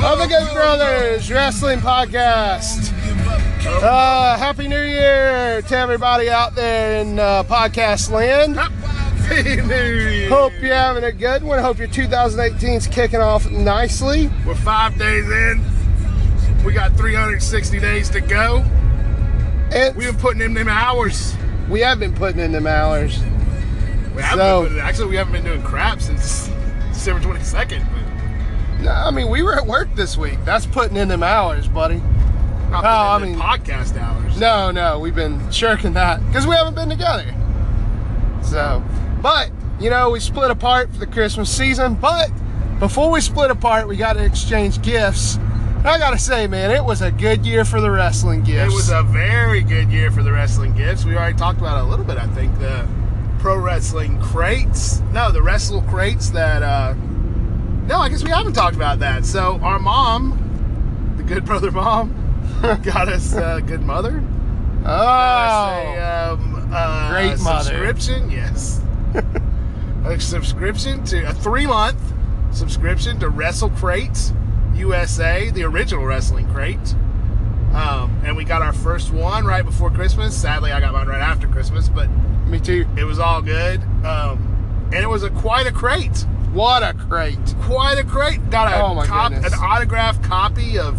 Renegade Brothers Wrestling Podcast. Uh, Happy New Year to everybody out there in uh, podcast land. Hope you're having a good one. Hope your 2018's kicking off nicely. We're five days in. We got 360 days to go. And We've been putting in them hours. we have been putting in them hours. We haven't So- been putting, actually, we haven't been doing crap since December 22nd. No, I mean, we were at work this week. That's putting in them hours, buddy. But not Oh, putting in I mean- the podcast hours. No, no, we've been shirking that because we haven't been together. So, but you know, we split apart for the Christmas season. But before we split apart, we got to exchange gifts. And I gotta say, man, it was a good year for the wrestling It gifts. was a very good year for the wrestling gifts. We already talked about it a little bit, I think. The pro wrestling crates. No, the wrestle crates that. Uh, no, I guess we haven't talked about that. So, our mom, the good brother mom, got us uh, good mother. oh, us a, um, uh, Great mother. subscription. Yes, a subscription to a three-month subscription to Wrestle Crate USA, the original wrestling crate. Um, and we got our first one right before Christmas. Sadly, I got mine right after Christmas, but me too. it was all good. Um, and it was a quite a crate, What a crate! quite a crate. Got a Oh, my cop, goodness. an autographed copy of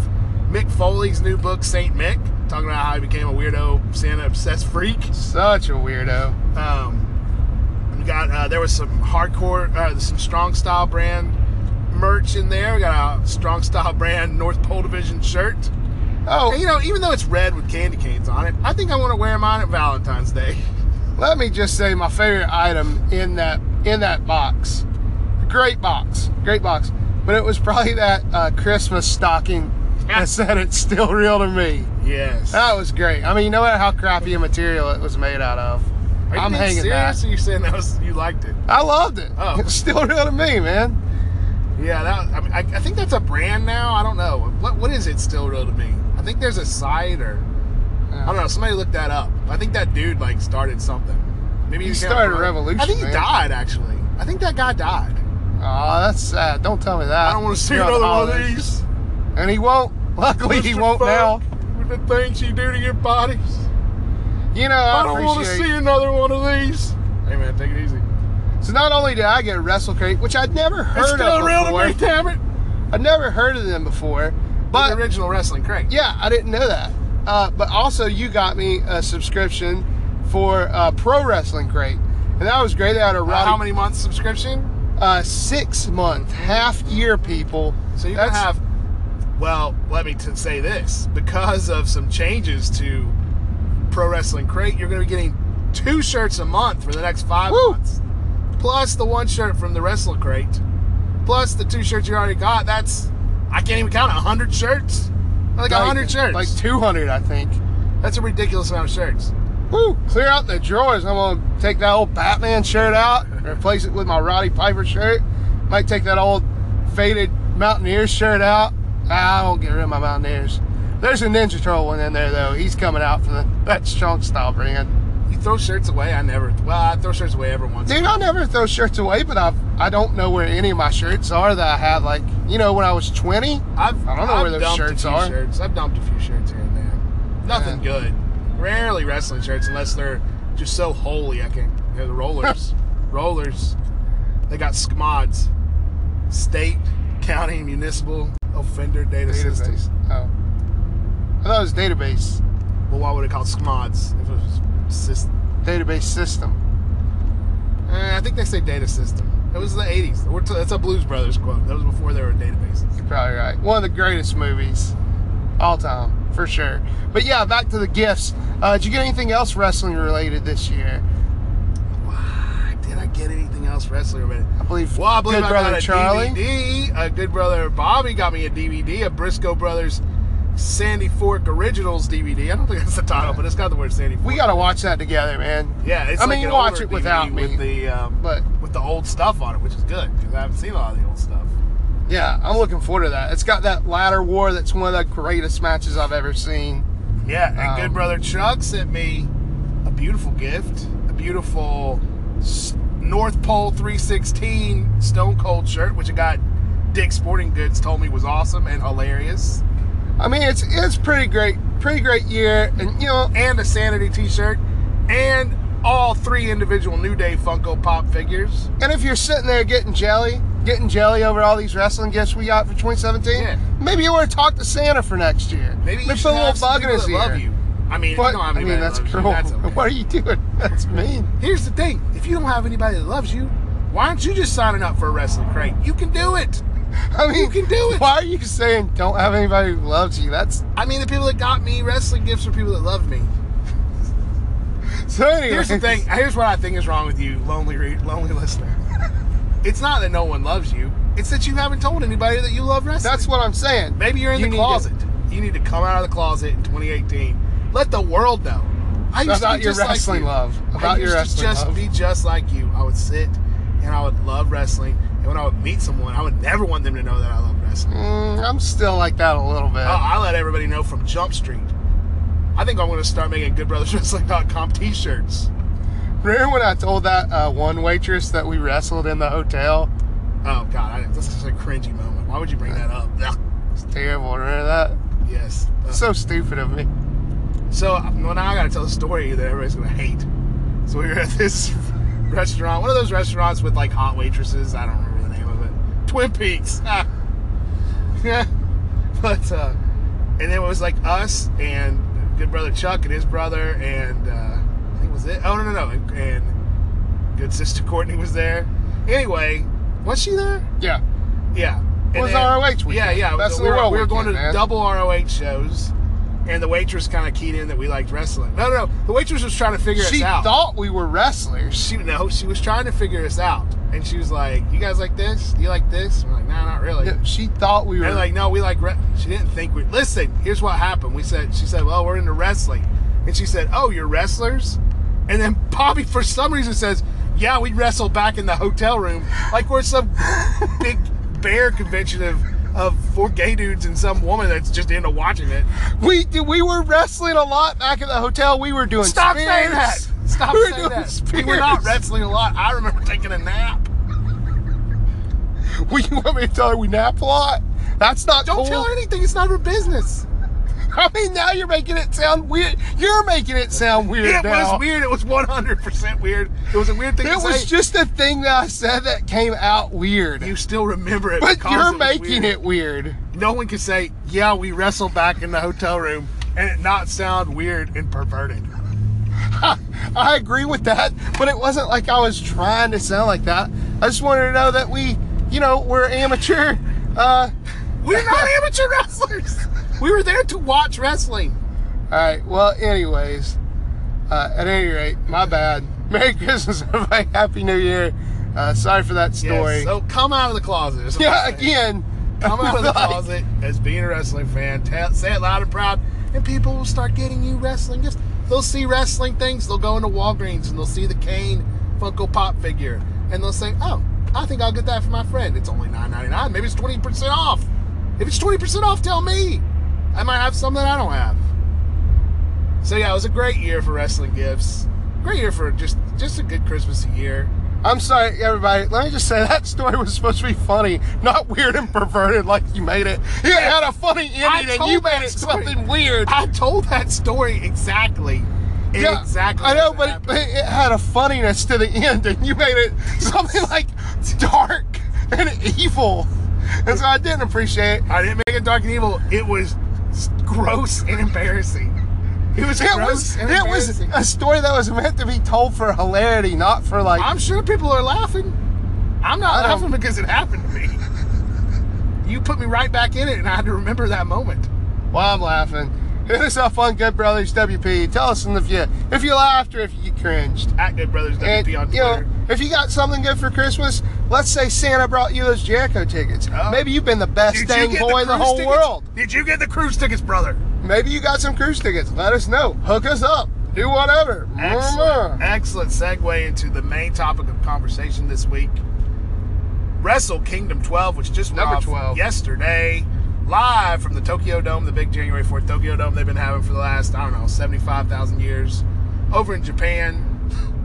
Mick Foley's new book, Saint Mick, talking about how he became a weirdo Santa obsessed freak. Such a weirdo. Um, we got uh, there was some hardcore, uh, some strong style brand merch in there. We got a strong style brand North Pole Division shirt. And, Oh, you know, even though it's red with candy canes on it, I think I want to wear mine at Valentine's Day. let me just say, my favorite item in that in that box, great box, great box. But it was probably that uh, Christmas stocking that said it's still real to me. Yes. That was great. I mean, no matter how crappy a material it was made out of, Are you I'm being hanging serious? that. Or you saying that was you liked it? I loved it. Oh. It's still real to me, man. Yeah. That. I mean, I, I think that's a brand now. I don't know. What What is it still real to me? I think there's a site or I don't know. Somebody looked that up. I think that dude like started something. Maybe He came started up a with- revolution, I think he man. died actually. I think that guy died. Aw, that's sad. Don't tell me that. I don't want to see You're another the one of holidays. these. And he won't. Luckily, he Mr. won't now. Funk, With the things you do to your bodies. You know, I, I, don't want to appreciate. see another one of these. Hey man, take it easy. So not only did I get a Wrestle Crate, which I'd never heard it's still of real before. to me, damn it. I'd never heard of them before, the but original wrestling crank. Yeah, I didn't know that. Uh, but also, you got me a subscription for uh, Pro Wrestling Crate, and that was great. They had a Uh, Roddy, how many months subscription? uh, six month, half year people. So you can have. Well, let me t- say this: because of some changes to Pro Wrestling Crate, you're going to be getting two shirts a month for the next five Woo. months, plus the one shirt from the Wrestle Crate, plus the two shirts you already got. That's I can't even count hundred shirts. Like hundred shirts. like two hundred, I think. That's a ridiculous amount of shirts. Woo! Clear out the drawers. I'm gonna take that old Batman shirt out, replace it with my Roddy Piper shirt. Might take that old faded Mountaineers shirt out. Ah, I won't get rid of my Mountaineers. There's a Ninja Turtle one in there though. He's coming out for the, that strong style brand. You throw shirts away. I never. Well, I throw shirts away every once. in a Dude, I never throw shirts away, but I've I don't know where any of my shirts are that I had like you know when I was twenty. I've, I don't know I've where those dumped shirts a few are. Shirts. I've dumped a few shirts here and there. Nothing good. Rarely wrestling shirts unless they're just so holy. I can. They're the rollers. rollers. They got SCMODs. State, county, municipal, offender data systems. Oh, I thought it was database Well, why would it call SCMODs if it was system? database system. Eh, I think they say data system. It was the 80s. We're t- that's a Blues Brothers quote. That was before there were databases. You're probably right. One of the greatest movies all time for sure. But yeah, back to the gifts. Uh, did you get anything else wrestling related this year? Why did I get anything else wrestling related? I believe. Well, I believe Good I brother got a Charlie. DVD. A good brother Bobby got me a DVD, a Briscoe Brothers Sandy Fork Originals DVD. I don't think that's the title, but it's got the word Sandy Fork. We gotta watch that together, man. yeah. It's I like mean, an watch older it without DVD me. with the um, But with the old stuff on it, which is good because I haven't seen a lot of the old stuff. yeah, I'm looking forward to that. It's got that ladder war. That's one of the greatest matches I've ever seen. Yeah, and Um, good brother Chuck sent me a beautiful gift, a beautiful s- North Pole 316 Stone Cold shirt, which I got Dick Sporting Goods told me was awesome and hilarious. I mean, it's it's pretty great, pretty great year, and you know, And a Sanity t shirt. And all three individual New Day Funko Pop figures. and if you're sitting there getting jelly, getting jelly over all these wrestling gifts we got for 2017, Yeah. maybe you want to talk to Santa for next year. Maybe you Maybe should put a little have some bug in people his that ear. love you. I mean, But, you don't have I mean, anybody that that's loves you. cruel. That's okay. What are you doing? That's mean. Here's the thing: if you don't have anybody that loves you, why aren't you just signing up for a wrestling crate? You can do it. I mean, You can do it. Why are you saying don't have anybody who loves you? That's I mean, the people that got me wrestling gifts were people that loved me. so. Here's the anyways. thing. Here's what I think is wrong with you, lonely, re- lonely listener. it's not that no one loves you. It's that you haven't told anybody that you love wrestling. That's what I'm saying. Maybe you're in You the need closet. You need to come out of the closet in 2018. Let the world know. I used to About be your just like wrestling you. love. I About used your wrestling to just love. be just like you. I would sit and I would love wrestling. And when I would meet someone, I would never want them to know that I love wrestling. Mm, I'm still like that a little bit. Oh, I let everybody know from Jump Street. I think I'm going to start making goodbrotherswrestling.com t-shirts. Remember when I told that uh, one waitress that we wrestled in the hotel? Oh God, I, that's just a cringy moment. Why would you bring that up? Ugh. It's terrible. Remember that? Yes. Ugh. So stupid of me. So well, now I gotta tell a story that everybody's gonna hate. So we were at this restaurant, one of those restaurants with like hot waitresses. I don't remember the name of it. Twin Peaks. Ah. yeah, but uh, and it was like us and good brother Chuck and his brother and uh, I think was it. Oh no no no and good sister Courtney was there. Anyway, was she there? Yeah. Yeah. It was then- ROH weekend. Yeah, yeah. it was- Best in we the were, World we were going to weekend, man. double ROH shows, and the waitress kind of keyed in that we liked wrestling. No, no, no. The waitress was trying to figure us She out. thought we were wrestlers. she no, she was trying to figure us out, and she was like, "You guys like this? Do you like this?" I'm like, "Nah, not really." Yeah, She thought we were. They're like, no, we like. Re-. She didn't think we. Listen, here's what happened. We said, she said, well, we're into wrestling, and she said, oh, you're wrestlers, and then Bobby, for some reason, says, yeah, we wrestle back in the hotel room, like we're some big bear convention of of four gay dudes and some woman that's just into watching it. we did, we were wrestling a lot back at the hotel. We were doing. Stop spears. saying that. Stop we were saying doing that. Spears. We were not wrestling a lot. I remember taking a nap. We you want me to tell her we nap a lot? That's not Don't cool. tell her anything. It's not her business. I mean, now you're making it sound weird. You're making it sound weird It now. was weird. It was 100% weird. It was a weird thing to It was say. just a thing that I said that came out weird. You still remember it, but because was you're making weird. it weird. No one can say, "Yeah, we wrestled back in the hotel room," and it not sound weird and perverted. I agree with that, but it wasn't like I was trying to sound like that. I just wanted to know that we, you know, we're amateur. Uh, We're not amateur wrestlers. We were there to watch wrestling. all right. Well, anyways, uh, at any rate, my bad. Merry Christmas, everybody. Happy New Year. Uh, sorry for that story. Yes, so come out of the closet. is what yeah, I'm saying. again. Come out of the Like, closet as being a wrestling fan. Tell, say it loud and proud, and people will start getting you wrestling gifts. They'll see wrestling things. They'll go into Walgreens and they'll see the Kane Funko Pop figure, and they'll say, "Oh, I think I'll get that for my friend. It's only $9.99. Maybe it's twenty percent off. If it's twenty percent off, tell me. I might have some that I don't have." So yeah, it was a great year for wrestling gifts. Great year for just just a good Christmas year. I'm sorry, everybody. Let me just say that story was supposed to be funny, not weird and perverted like you made it. It had a funny ending, and told you that made it story. something weird. I told that story exactly. Yeah, exactly. I as know, it but it, happened. but it had a funniness to the end, and you made it something like dark and evil. And so I didn't appreciate it. I didn't make it dark and evil. It was s- gross and embarrassing. It was It gross was and it was embarrassing. a story that was meant to be told for hilarity, not for like. I'm sure people are laughing. I'm I not don't- laughing because it happened to me. You put me right back in it, and I had to remember that moment. Well, I'm laughing. Hit us up on Good Brothers WP. Tell us in the view if you laughed or if you cringed. At Good Brothers WP And, on you know, Twitter. if you got something good for Christmas, let's say Santa brought you those Jericho tickets. Oh. Maybe you've been the best Did dang you get boy in the cruise whole tickets? world. Did you get the cruise tickets, brother? Maybe you got some cruise tickets. Let us know. Hook us up. Do whatever. Excellent, Mwah. excellent segue into the main topic of conversation this week. Wrestle Kingdom 12, which just went Number off 12. yesterday, live from the Tokyo Dome, the big January 4th Tokyo Dome they've been having for the last, I don't know, 75,000 years, over in Japan,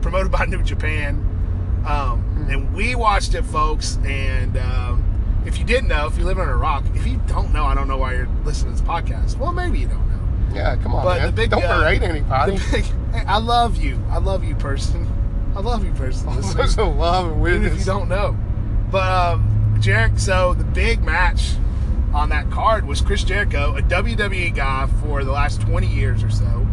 promoted by New Japan. Um, and we watched it, folks, and um, if you didn't know, if you live under a rock, if you don't know, I don't know why you're listening to this podcast. Well, maybe you don't know. Mm-hmm. Yeah, come on, But man. the big, Don't uh, berate anybody. The big- hey, I love you. I love you, person. I love you, person. listening. Such a love and Even if you weirdness. don't know. But um, Jericho, so the big match on that card was Chris Jericho, a WWE guy for the last 20 years or so.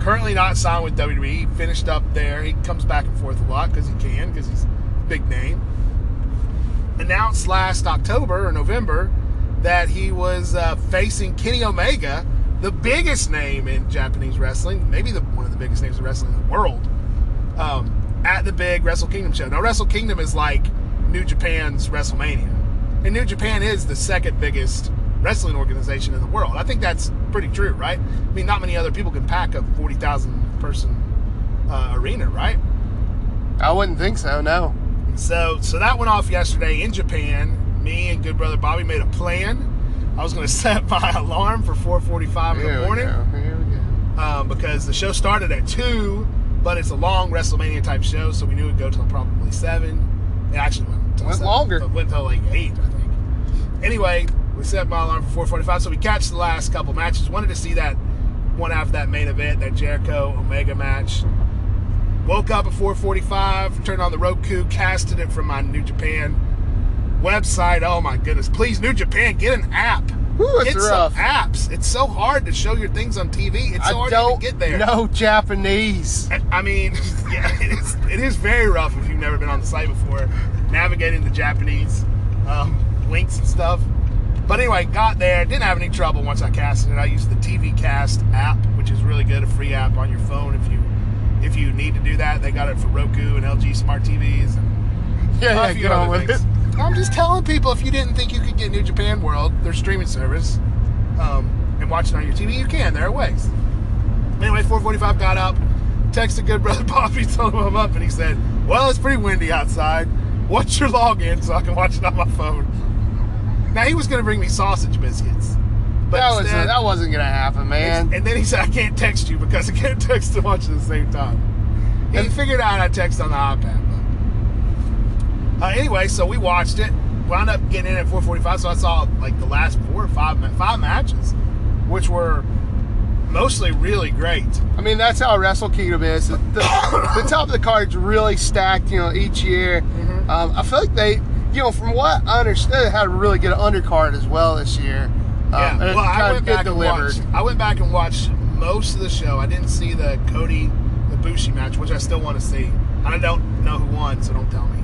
Currently not signed with WWE. He finished up there. He comes back and forth a lot because he can, because he's a big name. Announced last October or November that he was uh, facing Kenny Omega, the biggest name in Japanese wrestling, maybe the, one of the biggest names in wrestling in the world um, at the big Wrestle Kingdom show. Now, Wrestle Kingdom is like New Japan's WrestleMania, and New Japan is the second biggest wrestling organization in the world. I think that's pretty true, right? I mean, not many other people can pack a forty thousand person uh, arena, right? I wouldn't think so. No. So, so that went off yesterday in Japan. Me and good brother Bobby made a plan. I was going to set my alarm for 4:45 in Here the we morning go. Here we go. um, because the show started at two, but it's a long WrestleMania type show, so we knew it'd go till probably seven. It actually went till Went seven, longer. but went till like eight, I think. Anyway, we set my alarm for four forty-five, so we catch the last couple matches. Wanted to see that one after that main event, that Jericho Omega match. Woke up at four forty-five, turned on the Roku, casted it from my New Japan website. Oh my goodness! Please, New Japan, get an app. Whew, it's get rough. some apps. It's so hard to show your things on TV. It's so I hard don't to even get there. know Japanese. I- I mean, yeah, it is, it is very rough if you've never been on the site before, navigating the Japanese um, links and stuff. But anyway, got there, didn't have any trouble once I casted it. I used the TV Cast app, which is really good, a free app on your phone if you if you need to do that. They got it for Roku and LG smart TVs and Yeah, a yeah, few get on other with it. things. I'm just telling people if you didn't think you could get New Japan World, their streaming service, um, and watch it on your TV, you can. There are ways. Anyway, 4:45 got up, texted good brother Bobby, told him I'm up, and he said, "Well, it's pretty windy outside. What's your login so I can watch it on my phone?" Now he was going to bring me sausage biscuits, but That was instead- that wasn't gonna happen, man. and then he said, I can't text you because I can't text and watch at the same time. He And- figured out I text on the iPad. But. Uh, anyway, so we watched it. Wound up getting in at 4:45, so I saw like the last four or five ma- five matches, which were mostly really great. I mean, that's how Wrestle Kingdom is. The, the, the top of the card's really stacked, you know, each year. Mm-hmm. Um, I feel like they, you know, from what I understood, had a really good undercard as well this year. Um, yeah. and it's Well, I kinda went good back delivered. and watched. I went back and watched most of the show. I didn't see the Cody Ibushi match, which I still want to see. And I don't know who won, so don't tell me.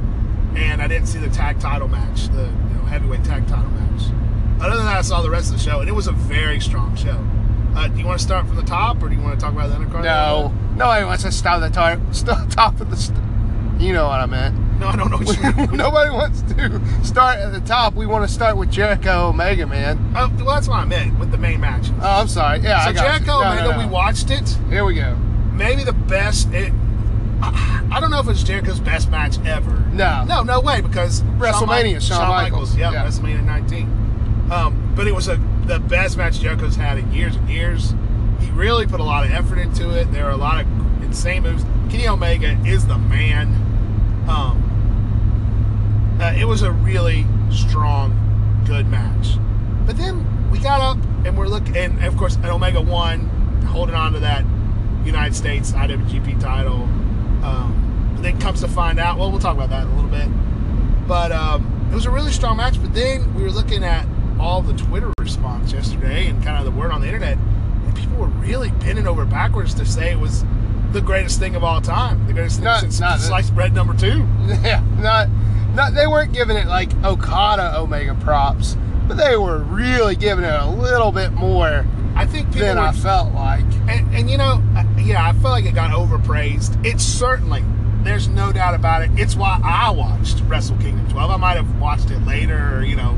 And I didn't see the tag title match, the you know, heavyweight tag title match. Other than that, I saw the rest of the show, and it was a very strong show. Uh, do you want to start from the top, or do you want to talk about the undercard? No, nobody wants to stop the tar- st- top of the, st- you know what I meant. no, I don't know what you mean. nobody wants to start at the top. We want to start with Jericho Omega, man. Oh, well, that's what I meant with the main match. So Oh, I'm sorry. Yeah, I got you. Jericho No, no, Omega, no. we watched it. Here we go. maybe the best. It, I I don't know if it's Jericho's best match ever. No. no, no way because Shawn Mi- WrestleMania, Shawn Michaels. Yeah, Yeah. WrestleMania 19. Um, but it was a, the best match Jericho's had in years and years. He really put a lot of effort into it. There are a lot of insane moves. Kenny Omega is the man. Um, uh, it was a really strong, good match. But then we got up and we're looking, and of course, at Omega One, holding on to that United States IWGP title. Um, but then comes to find out, well, we'll talk about that in a little bit. But um, it was a really strong match. But then we were looking at all the Twitter response yesterday and kind of the word on the internet, and people were really bending over backwards to say it was the greatest thing of all time, the greatest thing Not- since not- sliced bread number two. Yeah, not, not they weren't giving it like Okada Omega props, but they were really giving it a little bit more I think people than were I felt like. And, and you know, uh, yeah, I feel like it got overpraised. It's certainly, there's no doubt about it. It's why I watched Wrestle Kingdom 12. I might have watched it later, or, you know,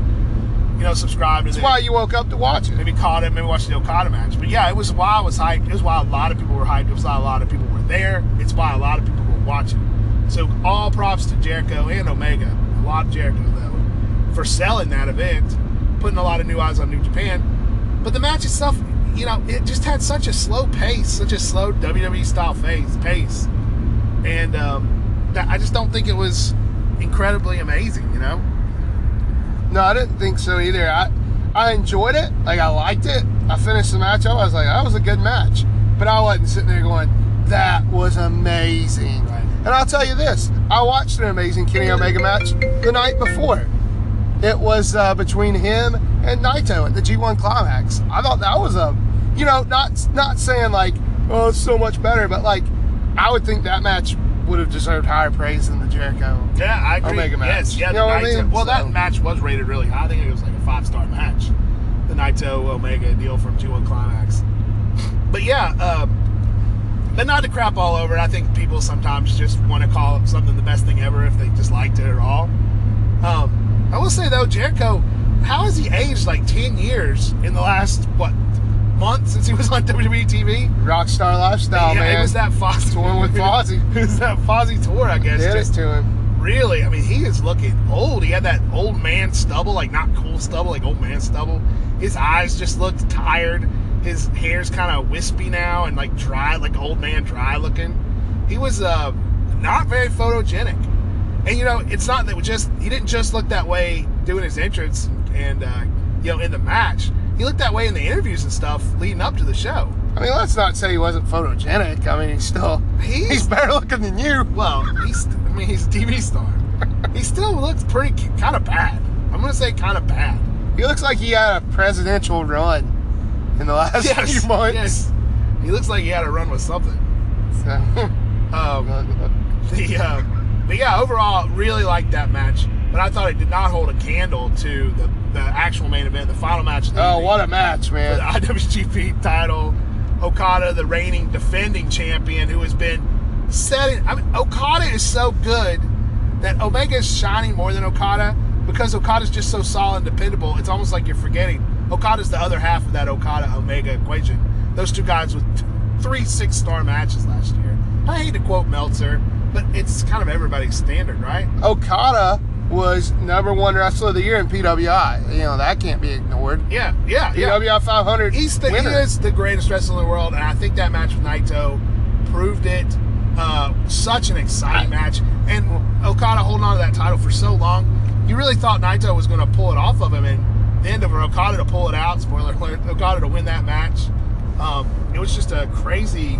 you know, subscribed. That's why you woke up to watch it. maybe caught it, maybe watched the Okada match. But yeah, it was why I was hyped. It was why a lot of people were hyped. It was why a lot of people were there. It's why a lot of people were watching. So all props to Jericho and Omega. A lot of Jericho though for selling that event, putting a lot of new eyes on New Japan. But the match itself, you know, it just had such a slow pace, such a slow WWE style phase pace, and um, that- I just don't think it was incredibly amazing. You know. No, I didn't think so either. I I enjoyed it. Like I liked it. I finished the match up. I was like, that was a good match. But I wasn't sitting there going, that was amazing. Right. And I'll tell you this: I watched an amazing Kenny Omega match the night before. It was uh, between him and Naito at the G1 Climax. I thought that was a, you know, not not saying like, oh, it's so much better, but like, I would think that match would have deserved higher praise than the Jericho. Yeah, I agree. Omega match. Yes, yeah, You the know what I Naito- mean? Well, So- that match was rated really high. I think it was like a five star match. The Naito Omega deal from G1 Climax. But yeah, uh, but not to crap all over. it. I think people sometimes just want to call something the best thing ever if they just liked it at all. Um, I will say though, Jericho, how has he aged like ten years in the last what month since he was on WWE TV? Rockstar lifestyle, yeah, Oh, man. it was that Fozzy Touring with Fozzy. it was that Fozzy tour, I guess. Did just- it to him. Really? I mean, he is looking old. He had that old man stubble, like not cool stubble, like old man stubble. His eyes just looked tired. His hair's kind of wispy now and like dry, like old man dry looking. He was uh, not very photogenic. And you know, it's not that we just he didn't just look that way doing his entrance and uh, you know in the match. He looked that way in the interviews and stuff leading up to the show. I mean, let's not say he wasn't photogenic. I mean, he's still He's- he's better looking than you. Well, he's I mean he's a TV star. He still looks pretty kind of bad. I'm gonna say kind of bad. He looks like he had a presidential run in the last few months. yes. He looks like he had a run with something. So, Um, the uh, but yeah, overall, really liked that match. But I thought it did not hold a candle to the, the actual main event, the final match. Of the oh, evening. what a match, for the man! IWGP title. Okada, the reigning defending champion, who has been setting. I mean, Okada is so good that Omega is shining more than Okada because Okada's just so solid and dependable. It's almost like you're forgetting Okada's the other half of that Okada Omega equation. Those two guys with t- three six star matches last year. I hate to quote Meltzer, but it's kind of everybody's standard, right? Okada was number one wrestler of the year in PWI. You know that can't be ignored. Yeah, yeah, yeah. PWI 500 He's the, he winner. is the greatest wrestler in the world, and I think that match with Naito proved it. Uh, such an exciting match, and Okada holding on to that title for so long, you really thought Naito was going to pull it off of him, and the end of it, Okada to pull it out. Spoiler alert: Okada to win that match. Um, it was just a crazy,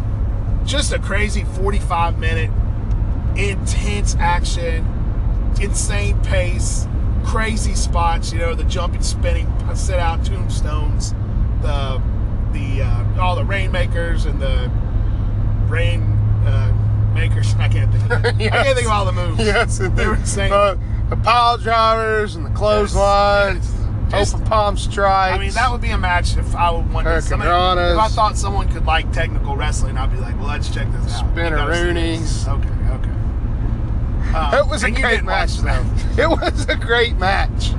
just a crazy 45 minute intense action, insane pace, crazy spots. You know, the jumping, spinning, set out tombstones, the the uh, all the rainmakers and the rain uh, makers. I can't think. Of Yes. I can't think of all the moves. yes, and They were the, insane. uh, the pile drivers and the clothesline, yes. Just- open palm strikes. I mean, that would be a match if I would want Hurricane somebody- Ranas. If I thought someone could like technical wrestling, I'd be like, well, let's check this out. We gotta see this. Spinneroonies. Okay, okay. Um, That was a and you great didn't watch match, the though. It was a great match.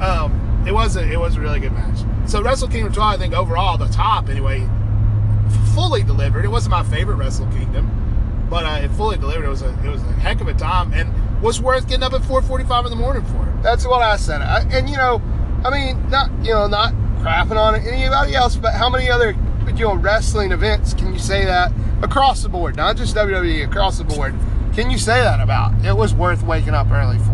um, it was a it was a really good match. So Wrestle Kingdom 12, I think overall the top anyway, f- fully delivered. It wasn't my favorite Wrestle Kingdom, but uh, it fully delivered. It was a it was a heck of a time and was worth getting up at 4:45 in the morning for. it. That's what I said. I, and you know, I mean, not you know, not crapping on anybody else, but how many other you know wrestling events can you say that across the board, not just WWE, across the board? Can you say that about? It was worth waking up early for.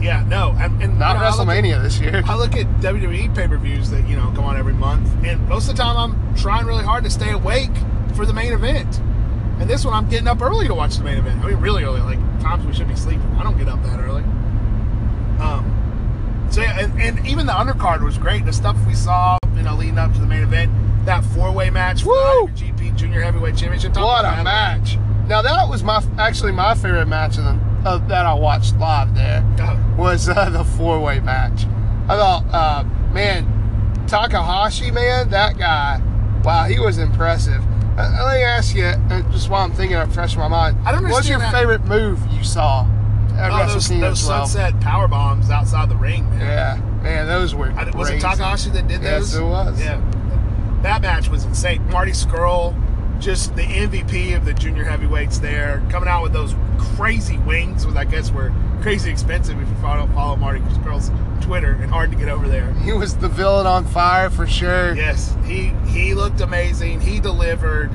Yeah, no, and, and Not you know, I look at- WrestleMania this year. I look at WWE pay per views that you know go on every month, and most of the time I'm trying really hard to stay awake for the main event. And this one I'm getting up early to watch the main event. I mean, really early. Like times we should be sleeping. I don't get up that early. Um, so yeah, and, and even the undercard was great. The stuff we saw, you know, leading up to the main event, that four way match for Woo! the IWGP Junior Heavyweight Championship. Talk What about a that. match! Now that was my actually my favorite match of, the, of that I watched live. There Oh, was uh, the four way match. I thought, uh, man, Takahashi, man, that guy, wow, he was impressive. Uh, let me ask you, uh, just while I'm thinking, I'm fresh in my mind. I don't What's your understand that- favorite move you saw at oh, Wrestle those, Kingdom those 12? sunset power bombs outside the ring, man. Yeah, man, those were. I, was it crazy. Takahashi that did Yes, those? it was. Yeah, that match was insane. Marty Skrull, just the MVP of the junior heavyweights there, coming out with those crazy wings, which I guess were crazy expensive if you follow, follow Marty Skrull's Twitter and hard to get over there. He was the villain on fire for sure. Yes, he he looked amazing. He delivered.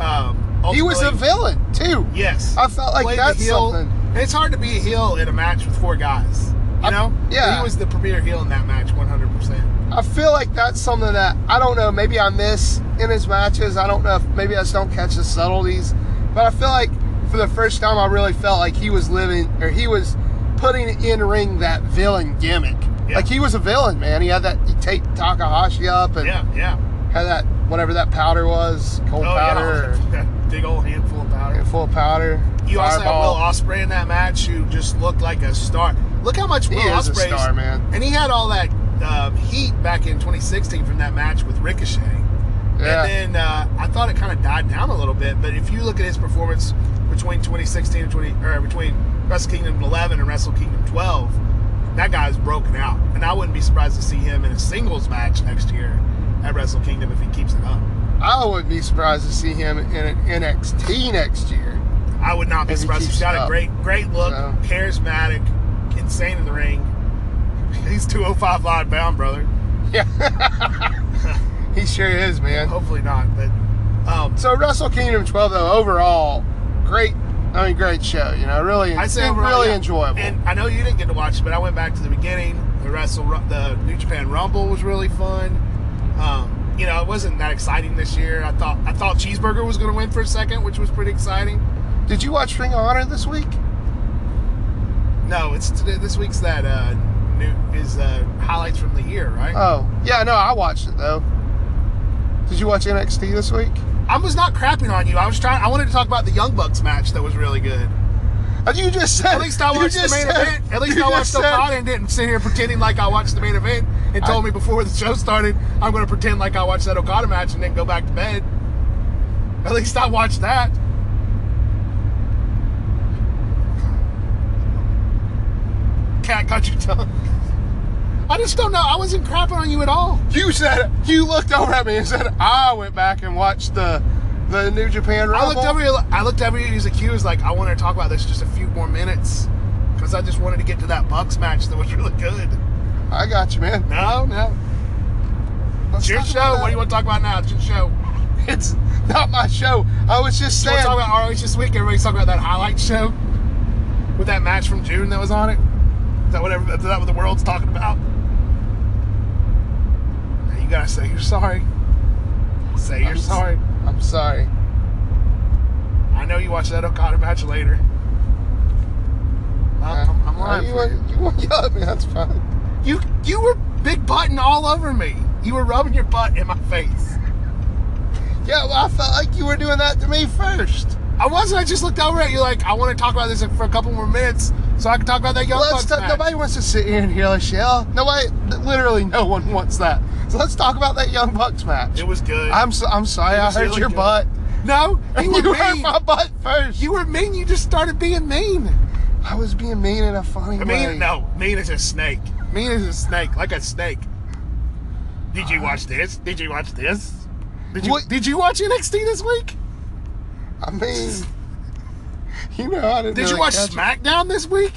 Um, he was a ultimately- villain too. Yes, I felt like Played the that's heel. something. And It's hard to be a heel in a match with four guys. You You know? yeah. He was the premier heel in that match 100%. I feel like that's something that I don't know. Maybe I miss in his matches. I don't know if maybe I just don't catch the subtleties. But I feel like for the first time, I really felt like he was living or he was putting in ring that villain gimmick. Yeah. Like he was a villain, man. He had that he take Takahashi up and Yeah, yeah. had that whatever that powder was, cold powder, Oh, yeah. Big old handful of powder. or full of powder. You also had fireball. Will Osprey in that match, who just looked like a star. Look how much He Will is a Ospreay star, man. and he had all that um, heat back in 2016 from that match with Ricochet. Yeah. And then uh, I thought it kind of died down a little bit, but if you look at his performance between 2016 and 20, or between Wrestle Kingdom 11 and Wrestle Kingdom 12, that guy's broken out, and I wouldn't be surprised to see him in a singles match next year at Wrestle Kingdom if he keeps it up. I would be surprised to see him in an NXT next year. I would not be If he surprised. He's keeps got it a up. great, great look, So- charismatic, insane in the ring. He's 205 live bound, brother. He sure is, man. Hopefully not, but um, So Wrestle Kingdom 12 though overall, great. I mean, great show. You know, really, I say it overall, really yeah. enjoyable. And I know you didn't get to watch, it, but I went back to the beginning. The Wrestle, Ru- the New Japan Rumble was really fun. Um, you know, it wasn't that exciting this year. I thought I thought Cheeseburger was going to win for a second, which was pretty exciting. Did you watch Ring of Honor this week? No, it's today, this week's that uh, new is uh, highlights from the year, right? Oh, yeah, no, I watched it though. Did you watch NXT this week? I was not crapping on you. I was trying. I wanted to talk about the Young Bucks match that was really good. Uh, You just said. At least I you watched the just main said- event. At least you I watched just said- Okada and didn't sit here pretending like I watched the main event and told me before the show started I'm going to pretend like I watched that Okada match and then go back to bed. At least I watched that. Cat got your tongue. I just don't know. I wasn't crapping on you at all. You said you looked over at me and said I went back and watched the the New Japan Rumble. I looked over. your- I looked over. Use a cue. Is like I wanted to talk about this just a few more minutes because I just wanted to get to that Bucks match that was really good. I got you, man. No, no. Let's It's your talk show. about What do you want to talk about now? It's your show. that. It's not my show. I was just You want saying. to talk about ROH this week? Everybody's talking about that highlight show with that match from June that was on it. Is that what, every, is that what the world's talking about? Now you gotta say you're sorry. Say you're I'm s- sorry. I'm sorry. I know you watch that Okada match later. I'm, I'm, I'm Uh, lying. You for you. want you want to yell at me? That's fine. You you were big button all over me. You were rubbing your butt in my face. Yeah, well, I felt like you were doing that to me first. I wasn't. I just looked over at you like I want to talk about this for a couple more minutes so I can talk about that young Let's Bucks talk, match. nobody wants to sit here and hear us yell. Nobody, literally, no one wants that. So let's talk about that Young Bucks match. It was good. I'm so, I'm sorry, It I was hurt really your good. butt. no. You You, were hurt mean. my butt first. You were mean. You just started being mean. I was being mean in a funny I way. mean, no. Mean as a snake. Mean as a snake, like a snake. Did you watch this? Did you watch this? Did you What- Did you watch NXT this week? I mean, you know, I didn't. Did you really watch catch it. SmackDown this week?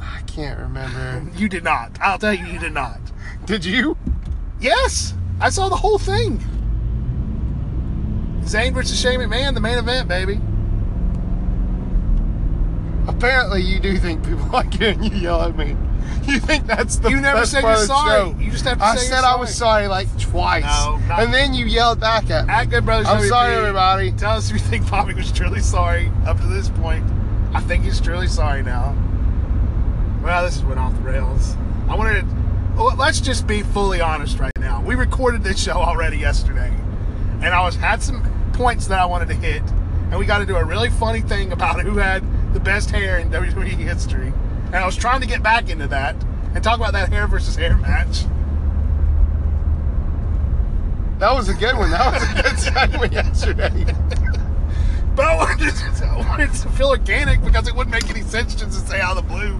I can't remember. You did not. I'll tell you, you did not. Did you? Yes, I saw the whole thing. Zayn versus Shane McMahon, the main event, baby. Apparently, you do think people like it and you yell at me. You think that's the You never best said part you're of the sorry. show. You just have to I say said you're I was sorry like twice, No, not- and then you yelled back at me. At Good Brothers. I'm WP, sorry, everybody. Tell us if you think Bobby was truly sorry up to this point. I think he's truly sorry now. Well, this has went off the rails. I wanted to. well, Let's just be fully honest right now. We recorded this show already yesterday, and I was had some points that I wanted to hit, and we got to do a really funny thing about who had the best hair in WWE history. And I was trying to get back into that and talk about that hair versus hair match. That was a good one. That was a good segment yesterday. But I wanted, to, I wanted to feel organic because it wouldn't make any sense just to say out of the blue.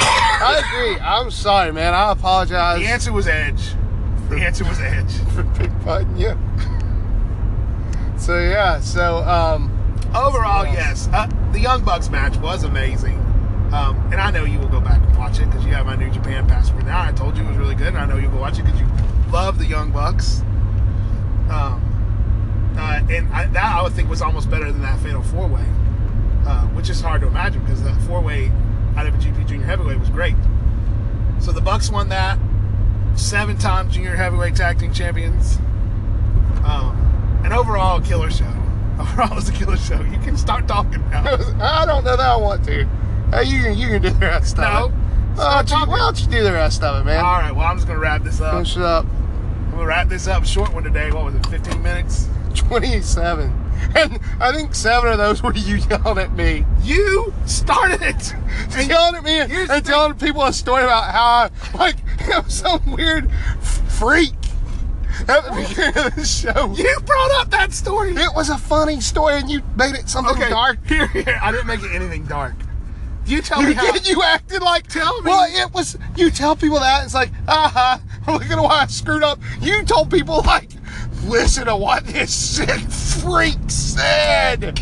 I agree. I'm sorry, man. I apologize The answer was Edge. The answer was Edge. for big butting you. So yeah, so um, Overall, yes. Uh, the Young Bucks match was amazing. Um, and I know you will go back and watch it because you have my New Japan passport now. I told you it was really good, and I know you'll go watch it because you love the Young Bucks. Um, uh, and I, that I would think was almost better than that Fatal Four Way, uh, which is hard to imagine because that Four Way, IWGP Junior Heavyweight was great. So the Bucks won that. Seven-time Junior Heavyweight Tag Team Champions. Um, and overall, a killer show. Overall, it was a killer show. You can start talking now. I don't know that I want to. Hey, you can you can do the rest No. of it. Uh, Stop why don't you do the rest of it, man? All right. Well, I'm just gonna wrap this up. Finish it up. We'll wrap this up. Short one today. What was it? 15 minutes. 27. And I think seven of those were you yelling at me. You started it. And yelling at me and, here's the and telling people a story about how I, like, I'm some weird f- freak at the beginning of the show. you brought up that story. It was a funny story and you made it something Okay. dark. Here, here. I didn't make it anything dark. You tell You me how. did, you acted like, Tell me. Well, it was, you tell people that, it's like, aha, look at why I screwed up. You told people, like, listen to what this sick freak said.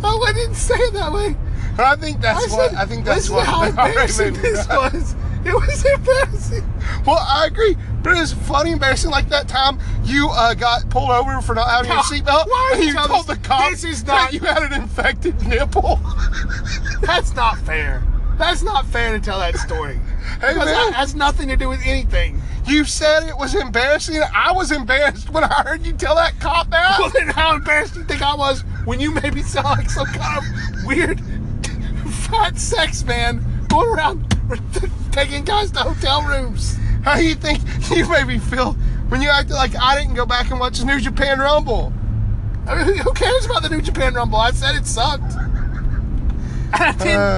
Oh, I didn't say it that way. And I think that's I what said, I think that's listen what to how they already embarrassing this know. was. It was embarrassing. Well, I agree, but it was funny, embarrassing. Like that time you uh, got pulled over for not having your seatbelt, Why are and you you telling told the us- cop this is that not- you had an infected nipple. That's not fair. That's not fair to tell that story. Hey, Because man. that has nothing to do with anything. you said it was embarrassing. I was embarrassed when I heard you tell that cop Well, that. then how embarrassed do you think I was when you made me sound like some kind of weird fat sex man going around taking guys to hotel rooms? How do you think you made me feel when you acted like I didn't go back and watch the New Japan Rumble? I mean, who cares about the New Japan Rumble? I said it sucked. And I Uh.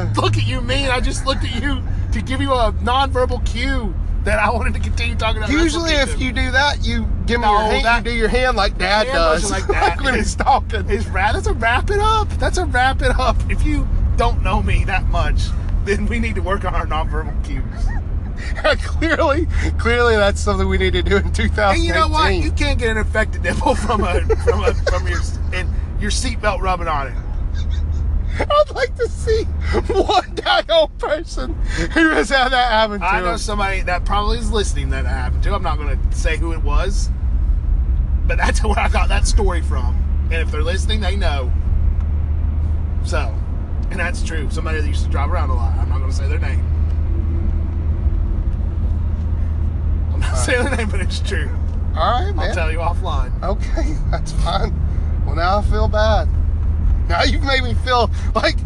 didn't look at you mean. I just looked at you to give you a nonverbal cue that I wanted to continue talking about. Wrestle Usually, if Kingdom. you do that, you give me No, your hand. that- you do your hand like Dad Hand does, motion like that when is- he's talking. It's wrap. That's a wrap it up. That's a wrap it up. If you don't know me that much, then we need to work on our nonverbal cues. clearly, clearly, that's something we need to do in 2018. And you know what? You can't get an infected nipple from a from a from your and your seatbelt rubbing on it. I'd like to see one dial person who has had that happen to I know him. somebody that probably is listening that it happened to. I'm not going to say who it was, but that's where I got that story from. And if they're listening, they know. So, and that's true. Somebody that used to drive around a lot. I'm not going to say their name. I'm not saying their name, but it's true. All right, I'll man. tell you offline. Okay, that's fine. Well, now I feel bad. Now you've made me feel like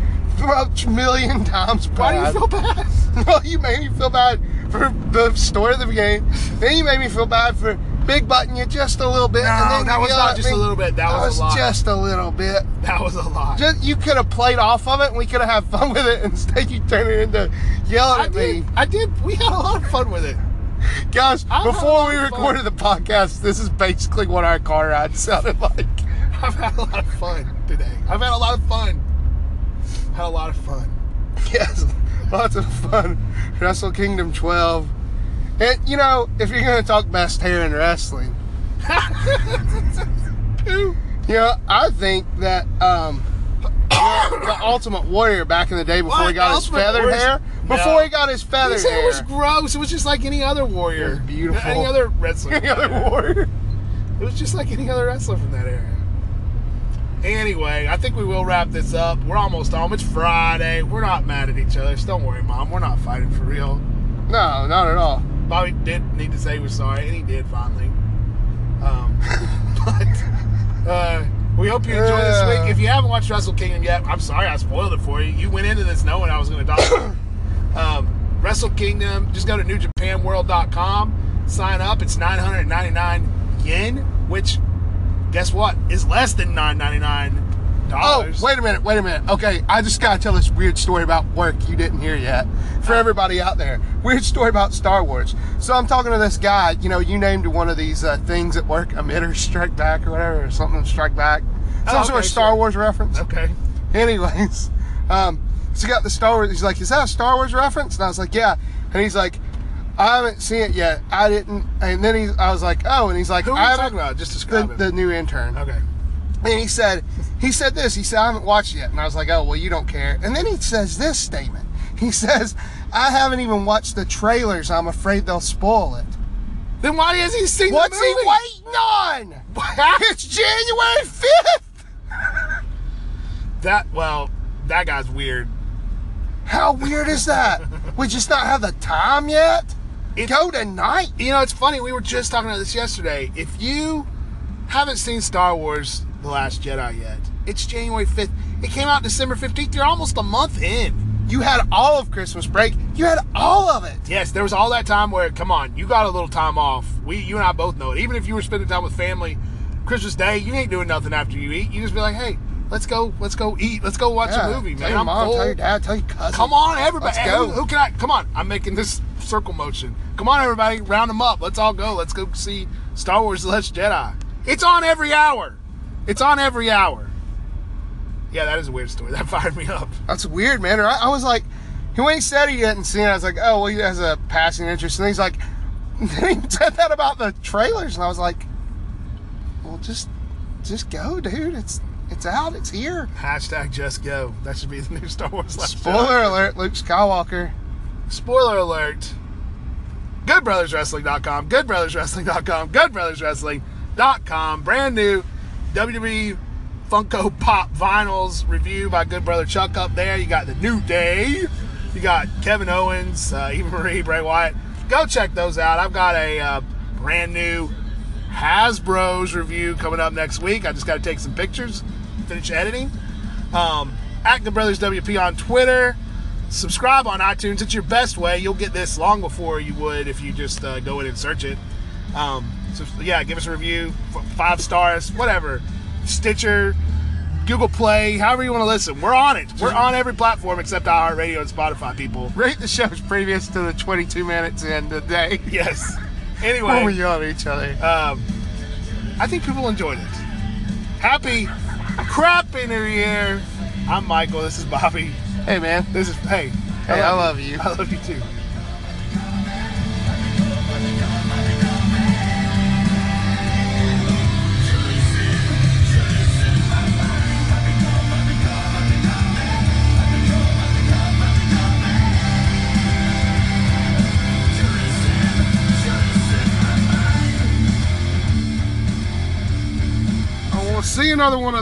a million times bad. Why do you feel bad? No, you made me feel bad for the story of the game. Then you made me feel bad for big button you just a little bit. and No, then that you was yell not at just me. a little bit. That, That was, a lot. just a little bit. that was a lot. Just, you could have played off of it and we could have had fun with it. Instead, you turned it into yelling I at did. me. I did. We had a lot of fun with it. Guys, I had a before lot we of fun. recorded the podcast, this is basically what our car ride sounded like. I've had a lot of fun today. I've had a lot of fun. Had a lot of fun. Yes, lots of fun. Wrestle Kingdom 12. And, you know, if you're going to talk best hair in wrestling, Ew. you know, I think that um, the Ultimate Warrior back in the day before What? he got his Ultimate feathered Warrior's- hair, No. before he got his feathered His hair hair, was gross. It was just like any other warrior. It was beautiful. Any other wrestler. any other warrior. It was just like any other wrestler from that era. Anyway, I think we will wrap this up. We're almost home. It's Friday. We're not mad at each other. So don't worry, Mom. We're not fighting for real. No, not at all. Bobby did need to say he was sorry, and he did finally. Um, but uh, we hope you enjoy this Yeah. week. If you haven't watched Wrestle Kingdom yet, I'm sorry I spoiled it for you. You went into this knowing I was going to talk. about it. um, Wrestle Kingdom. Just go to NewJapanWorld.com, sign up. It's 999 yen, which guess what is less than 999 Oh, dollars. wait a minute, wait a minute. Okay, I just gotta tell this weird story about work you didn't hear yet Oh. for everybody out there. Weird story about Star Wars. So I'm talking to this guy. You know, you named one of these uh, things at work, emitter, strike back, or whatever, or something, strike back. Some Oh, sort of okay, Star sure. Wars reference. Okay. Anyways, um, so he got the Star Wars. He's like, "Is that a Star Wars reference?" And I was like, "Yeah." And he's like, "I haven't seen it yet. I didn't." And then he, I was like, "Oh," and he's like, Who are "I you haven't." talking about? Just describe The, it. the new intern. okay. And he said, he said this. He said, I haven't watched it yet. And I was like, oh, well, you don't care. And then he says this statement. He says, I haven't even watched the trailers. I'm afraid they'll spoil it. Then why hasn't he seen What's the movie? he waiting on? What? It's January 5th. That well, that guy's weird. How weird is that? we just not have the time yet. It- Go tonight. You know, it's funny. We were just talking about this yesterday. If you haven't seen Star Wars: The Last Jedi yet, it's January fifth. It came out December fifteenth. You're almost a month in. You had all of Christmas break. You had all of it. Yes, there was all that time where, come on, you got a little time off. We, you and I both know it. Even if you were spending time with family, Christmas Day, you ain't doing nothing after you eat. You just be like, hey, let's go, let's go eat, let's go watch Yeah, a movie, tell man. your I'm mom, full. tell your dad, tell your cousin. Come on, everybody. Let's Hey, go. Who, who can I? Come on. I'm making this circle motion. Come on, everybody. Round them up. Let's all go. Let's go see Star Wars The Last Jedi. It's on every hour. It's on every hour. Yeah, that is a weird story. That fired me up. That's weird, man. Or I, I was like, when he said he hadn't seen it, I was like, oh, well, he has a passing interest. And he's like, he said that about the trailers, and I was like, well, just, just go, dude. It's, it's out. It's here. Hashtag just go. That should be the new Star Wars Last Spoiler Jedi. alert: Luke Skywalker. Spoiler alert. GoodBrothersWrestling.com. GoodBrothersWrestling.com. GoodBrothersWrestling.com. Brand new WWE Funko Pop vinyls review by Good Brother Chuck up there. You got the New Day. You got Kevin Owens, uh, Eva Marie, Bray Wyatt. Go check those out. I've got a uh, brand new Hasbro's review coming up next week. I just got to take some pictures, finish editing. Um, at Good Brothers WP on Twitter. Subscribe on iTunes. It's your best way. You'll get this long before you would if you just uh, go in and search it. Um, so, yeah, give us a review, f- five stars, whatever. Stitcher, Google Play, however you want to listen. We're on it. We're on every platform except iHeartRadio and Spotify, people. Rate the show's previous to the 22 minutes in the day. Yes. When we Anyway, yell at each other. um, I think people enjoyed it. Happy, crappy New Year. I'm Michael. This is Bobby. Hey, man. This is hey. Hey, I love you. I love you too. I want to see another one of.